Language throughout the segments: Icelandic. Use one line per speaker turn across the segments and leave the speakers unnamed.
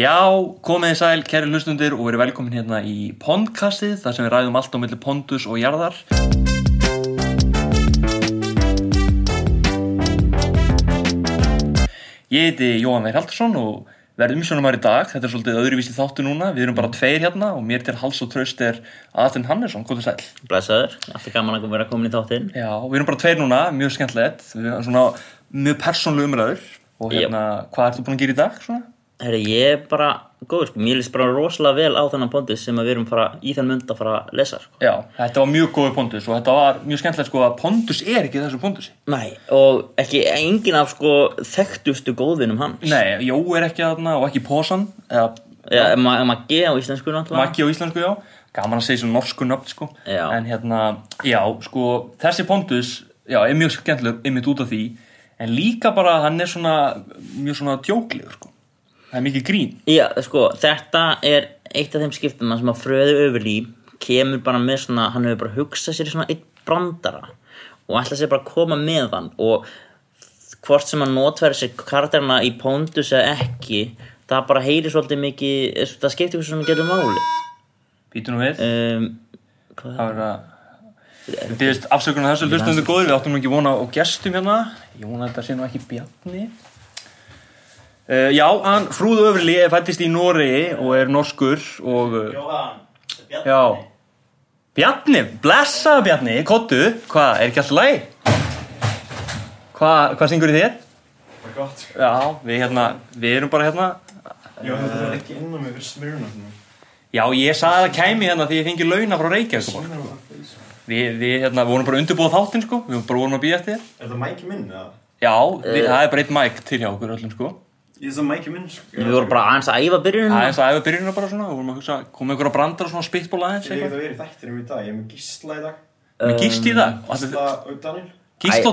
Já, komið þið sæl, kæri hlustundir og verið velkomin hérna í Pondkastið, þar sem við ræðum allt á milli Pondus og Jarðar. Ég heiti Jóhann Veir Haldarsson og verðum umsjónumar í dag. Þetta er svolítið öðruvísi þáttu núna. Við erum bara tveir hérna og mér til hals og tröst er Aðin Hannesson, góður sæl.
Blessaður, alltaf gaman að vera komin í þáttinn
Já, við erum bara tveir núna, mjög skemmtilegt, við erum svona mjög persónlu umræður og hérna, hvað ert þú búin að gera í dag svona?
Herri, ég er bara góður sko, mér líst bara rosalega vel á þennan bóndis sem að við erum fara, í þann mund að fara að lesa sko.
Já, þetta var mjög góður pondus og þetta var mjög skemmtilegt sko að pondus er ekki þessu pondusi.
Nei, og ekki engin af sko þekktustu góðvinum hans
Nei, Jó er ekki þarna og ekki Pósan eða
ja, ma Maggi á íslensku náttúrulega
Maggi á íslensku, já. Gaman að segja svona norsku nöfn, sko.
Já.
En hérna, já, sko, þessi pondus, já, er mjög skemmtilegur einmitt út af því, en líka bara hann er svona, mjög svona djóklegur, sko. Það er mikið grín.
Já, sko, þetta er eitt af þeim skiptum sem að fröðu öfurlí kemur bara með svona, hann hefur bara hugsað sér í svona eitt brandara og ætla sér bara að koma með hann og hvort sem hann notverði sér karakterina í póndus eða ekki það bara heyri svolítið mikið eh, það skiptir hversu sem getur máli
Býtu nú við.
um, hvað
Það verður að... Við byrjast afsökunar þessu hlustundu góður, við áttum nú ekki vona á gestum hérna. Ég vona að þetta sé nú ekki Bjarni. Uh, já, hann Frúðu Öfrili er fættist í Noregi og er norskur og... Uh,
Jóhann, Bjarni
Já Bjarni, blessa Bjarni, kottu Hvað, er ekki alltaf læg? Hvað, hvað syngur í þér?
Það er gott. sko.
Já, við hérna, við erum bara hérna
Já, þetta er ekki inn á mig fyrir smyruna.
Já, ég sagði að það kæmi hérna því ég fengi launa frá Reykjavík Við, við hérna, vorum bara undirbúið þáttinn sko Við bara vorum að býja eftir þér
Er það mæki minn, eða?
Já,
Eh.
við, það er bara eitt mæk til hjá okkur öllum sko
Ég er það mæki minn, sko.
Við vorum bara aðeins að æfa byrjunum
Það er eins að ef við byrjunum bara svona Við vorum að hugsa, komið ykkur á brandar og svona spittból aðeins
Ég hef
eitthvað
það verið þættinum í dag, ég er með gísla í dag.
Með gíst í það og allir-
Gísla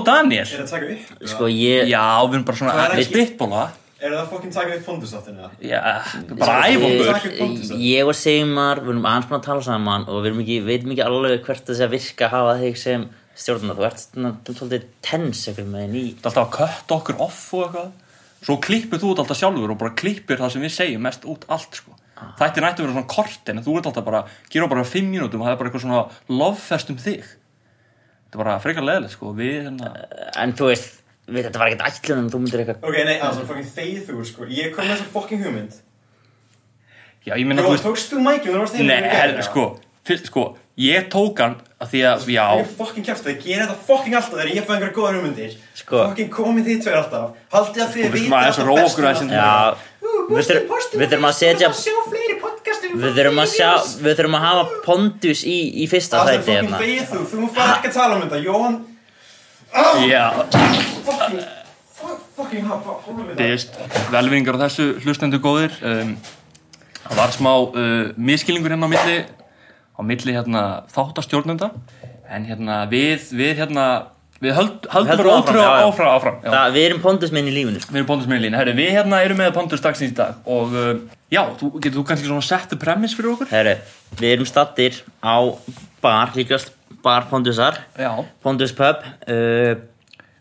Gísl
og Daniel.
og Daniel
Er það taka upp?
Sko ég,
Já, við erum bara svona
Eh. Það er
að
ekki-
spittbóla
Er það fokkin taka upp fondustáttin, eða?
Já, bara æfa okkur
Takk fyrir Pontus.
ég, ég og Seymar, við erum aðeins búin að tala saman og við erum ekki, veitum ekki alveg hvert það sé að virka að hafa þig sem stjórnum þú ert svona svolítið tens eitthvað með ný
Þetta alltaf að kötta okkur off og eitthvað Svo klippir þú út alltaf sjálfur og bara klippir það sem við segjum mest út allt sko.
Ah.
Þættir nætti að vera svona kort en þú ert alltaf bara, gera bara fimm mínútum og það er bara eitthvað svona lovefest um þig Þetta er bara frekar leðilegt sko Við hérna
En þú veist, við, þetta var ekkert ætlunum, þú myndir eitthvað
Ok, nei, það er fokkin þeið þú, sko. Ég kom með þessa fokkin hugmynd.
Já, ég minna
Jó,
þú veist
tókst þú mæki, þú varst
Nei,
í
her,
gær,
sko, fyrst, sko Ég tók hann að því að, já
Ég fokkin kæft það, ég ger þetta fokkin alltaf þegar ég fæ einhverja góða hugmyndir.
Sko.
Fokkin komið þið tveir alltaf. Haldið að þið
Sko, við skulum aðeins róa okkur aðeins hérna.
Já, við þurfum- við þurfum að setja Við þurfum að sjá, við þurfum að hafa pondus í, í fyrsta
Það er
þætti
fokkin
hérna
þeið þú, þú fara ekki að tala um þetta, Jóhann
Já,
Fucking, fuck- fucking hafa, horfum við það
veist, velvinningar á þessu hlustendu góðir um, Það var smá uh, miskilingur hérna á milli á milli hérna þáttastjórnenda en hérna við við hérna við höld, höldum
Höldum
bara
áfram,
ótrúð
já, já.
áfram, áfram, já.
Það, við erum pondusmenn í lífinu
Við erum Pontus með í línu, herri, við hérna erum með Pontus dagsins í dag og uh, já, þú, getur þú kannski svona sett the premise fyrir okkur?
Herru, við erum stattir á bar, líkast bar pondusar
Já,
Pondus Pub uh,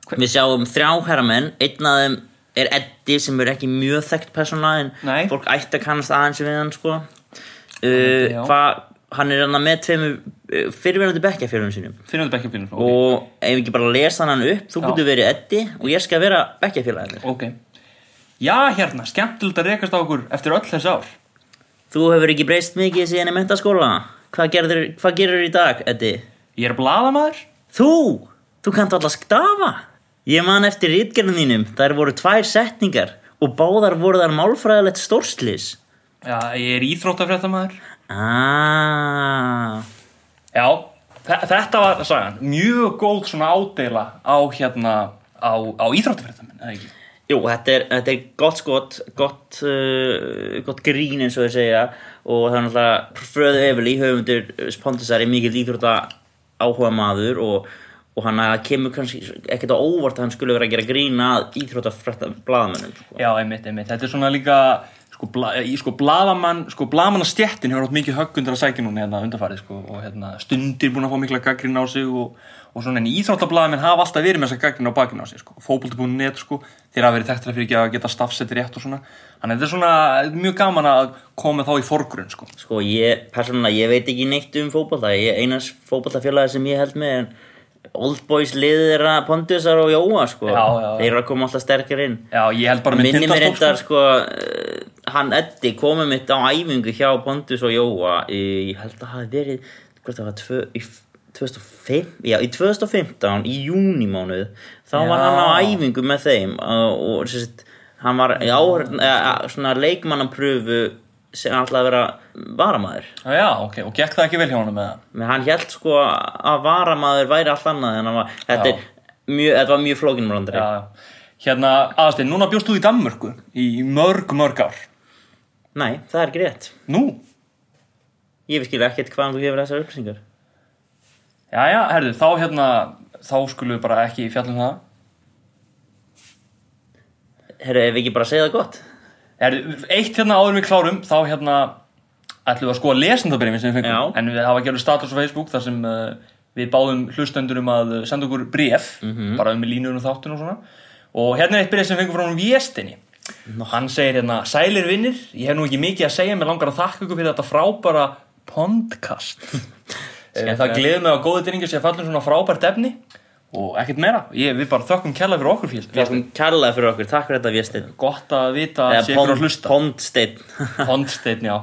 Við sjáum þrjá herramenn Einn af þeim er Eddi sem er ekki mjög þekkt persóna En
Nei.
fólk ætti að kannast aðeins við hann sko.
já.
uh, hva, Hann er hann með tveimur uh, fyrirverandi bekkjafjörðum sínum
finnum þetta bekkjafínum okay.
Og ef við ekki bara lesa hann upp Þú
Já.
getur verið Eddi og ég skal vera bekkjafélagið
ok Já, hérna, skemmtilegt að rekast á okkur eftir öll þessi ár
Þú hefur ekki breyst mikið síðan í mentaskóla Hvað gerður, hvað gerður í dag, Eddi?
Ég er bladamaður
Þú, þú kannt alltaf stafa. Ég man eftir rítgerðum þínum, þær voru tvær setningar og báðar voru þar málfræðilegt stórslis.
Já, ég er íþróttafréttamaður
Ah,
Já, þe- þetta var sagan Mjög góð svona ádeila á hérna á, á íþróttafréttamenn, eða ekki?
jú, þetta er, þetta er gott skot, gott, uh, gott grín eins og ég segja og það er náttúrulega fröðu efli höfundur Spondusar er mikið líþrótta áhuga maður og, og hann að kemur kannski ekkert á óvart að hann skulle vera að gera grína íþrótta frætta blaðamennum. Sko.
Já, einmitt, einmitt Þetta er svona líka, sko, bla, í, sko blaðamann sko blaðamannastjettin hefur átt mikið höggundur að sækja núna hérna undanfarið sko og hérna stundir búin að fá mikla gaggrín á sig og, og svona en íþróttablaðamenn hafa alltaf verið með þessa gaggrín á bakinu á sig sko fótbolti.net sko þeir hafa verið þekktra fyrir ekki að geta staffsett rétt og svona þannig að þetta er svona mjög gaman að koma þá í forgrunn sko
Sko ég, persónulega, ég veit ekki neitt um fótbolta Ég er einas fótboltafélagi sem ég held með en Old Boys liðir þeirra Pontusar og Jóa sko
Já, já, já.
Þeir eru að koma alltaf sterkar inn
já ég held bara með
Minni mér
Tindastól,
reyndar sko, uh, hann Eddi komið mitt á æfingu hjá Pontus og Jóa í, Ég held að hafi verið, hvort það var tvö, í f- 2005, já, í 2015 í júnimánuð þá
Já.
var hann á æfingu með þeim uh, og sérst, hann var í áhörn, uh, svona leikmannapröfu sem hann ætlaði að vera varamæður
Já, já ok og gekk það ekki vel hjá honum með það
Men hann held sko að varamaður væri allt annað en hann var, þetta,
Já.
er mjög, þetta var mjög flókinum randri.
já, já. hérna aðstæðin núna bjóst þú í Danmörku í mörg mörg ár
Nei, það er ekki rétt.
nú
Ég veist ekkert hvaðan þú hefur þessar upplýsingar.
Jæja, herðu, þá hérna, þá skulum við bara ekki fjalla um það.
Herru, ef við ekki bara segja það gott?
Herðu, eitt hérna áður en við klárum, þá hérna ætlum við að skoða lesendabrifin sem við fengum.
Já.
En við hafa gerðu status á Facebook þar sem uh, við báðum hlustendur um að uh, senda okkur bref,
Mhm.
bara um línur og þáttun og svona. Og hérna er eitt bref sem við fengum frá hún Viestinni. Hann segir hérna, sælir vinnir, ég hef nú ekki mikið að segja, mér langar að þakka ykkur fyrir þetta frábæra podcast. Eh, Það gleður mig að góðu dýringar sé að falla um svona frábært efni og ekkert meira. Ég, við bara þökkum kærlega fyrir okkur
Við
fél.
ætlum kærlega fyrir okkur, takk fyrir þetta Vésteinn.
Gott að vita að sé ykkur að
Eða
hlusta.
Pondsteinn.
Pondsteinn, já.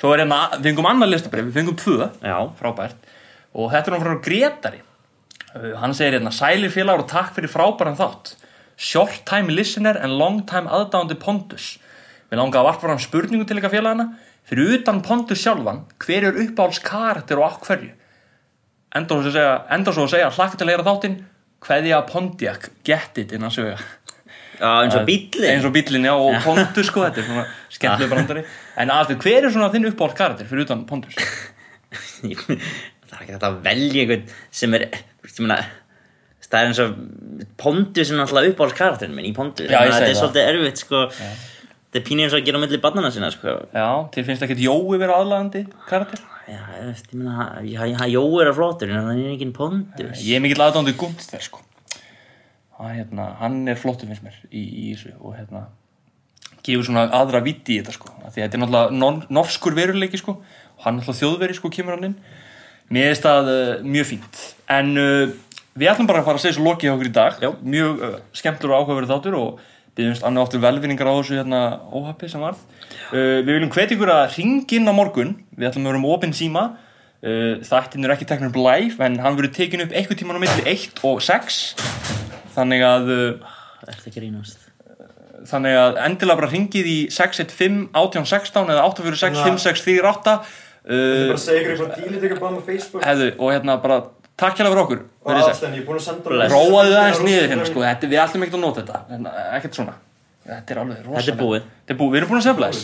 Svo er hérna, við fengum annað listabrif, við fengum tvö,
Já,
frábært. Og þetta er hann frá Gretari. Uh, Hann segir hérna, sælir félagur og takk fyrir frábæran þátt. Short time listener and long time aðdáandi Pondus. Við langaði að varpa hann spurningu til ykkar félagana. Fyrir utan Pondus sjálfan, hver er uppáhalds karakter og á hverju? Enda svo að segja, enda svo að segja, hlakka til að leira þáttinn, hverja Pontiac, get it innan sögja
já eins og bíllinn.
eins og bíllinn, já, og Pondus sko, þetta er svona skemmtileg brandari en aðstu, hver er svona þinn uppáhald karakter fyrir utan Pondus?
það er ekki þetta að velja einhvern sem er, þú veist, ég meina, það er eins og Pondus er náttúrulega uppáhalds karakterinn minn í Pondus.
Já, ég
Þannig
segi
að Þetta er
það.
svolítið erfitt, sko. Þetta er pínu eins og að gera á milli barnana sinna, sko.
Já, þér finnst ekki Jói vera aðlagandi karakter?
Já, ég veist, ég meina, já, já, Jói er að flottur, en hann er ekki Pondus.
Ég er mikill aðdándi Gunther sko hann, hérna, hann er flottur finnst mér í, í þessu og hérna gefur svona aðra viti í þetta sko Af því að þetta er náttúrulega non, nofskur veruleiki sko og hann er náttúrulega þjóðveri sko kemur hann inn mér er það uh, mjög fínt en uh, við ætlum bara að fara að segja svo lokið hjá okkur í dag
Já.
mjög uh, skemmtur og áhugaverið þáttur og við finnst annað áttur velvinningar á þessu hérna óhappi sem varð uh, við viljum hvetja ykkur að ringin á morgun við ætlum að vera um opinn síma uh, þættin er ekki teknur upp live en hann verður tekin upp eitthvað tíman á milli 1 og 6 þannig að uh,
Ertu að grínast?
þannig að endilega bara ringið í 615 1816 eða 846 5638 uh,
Bara segja ykkur eitthvað dílit ykkur bara með Facebook
hefðu, og hérna bara takk hérna fyrir okkur
Og
verið sæl.
aðstæðan, ég er búin að senda
Bless.
róaðu það aðeins niður hérna sko. þetta, við ætlum ekkert að nota þetta en, ekkert svona þetta er alveg rosalega
Þetta er búið.
Þetta er búið. við erum búin að segja blæs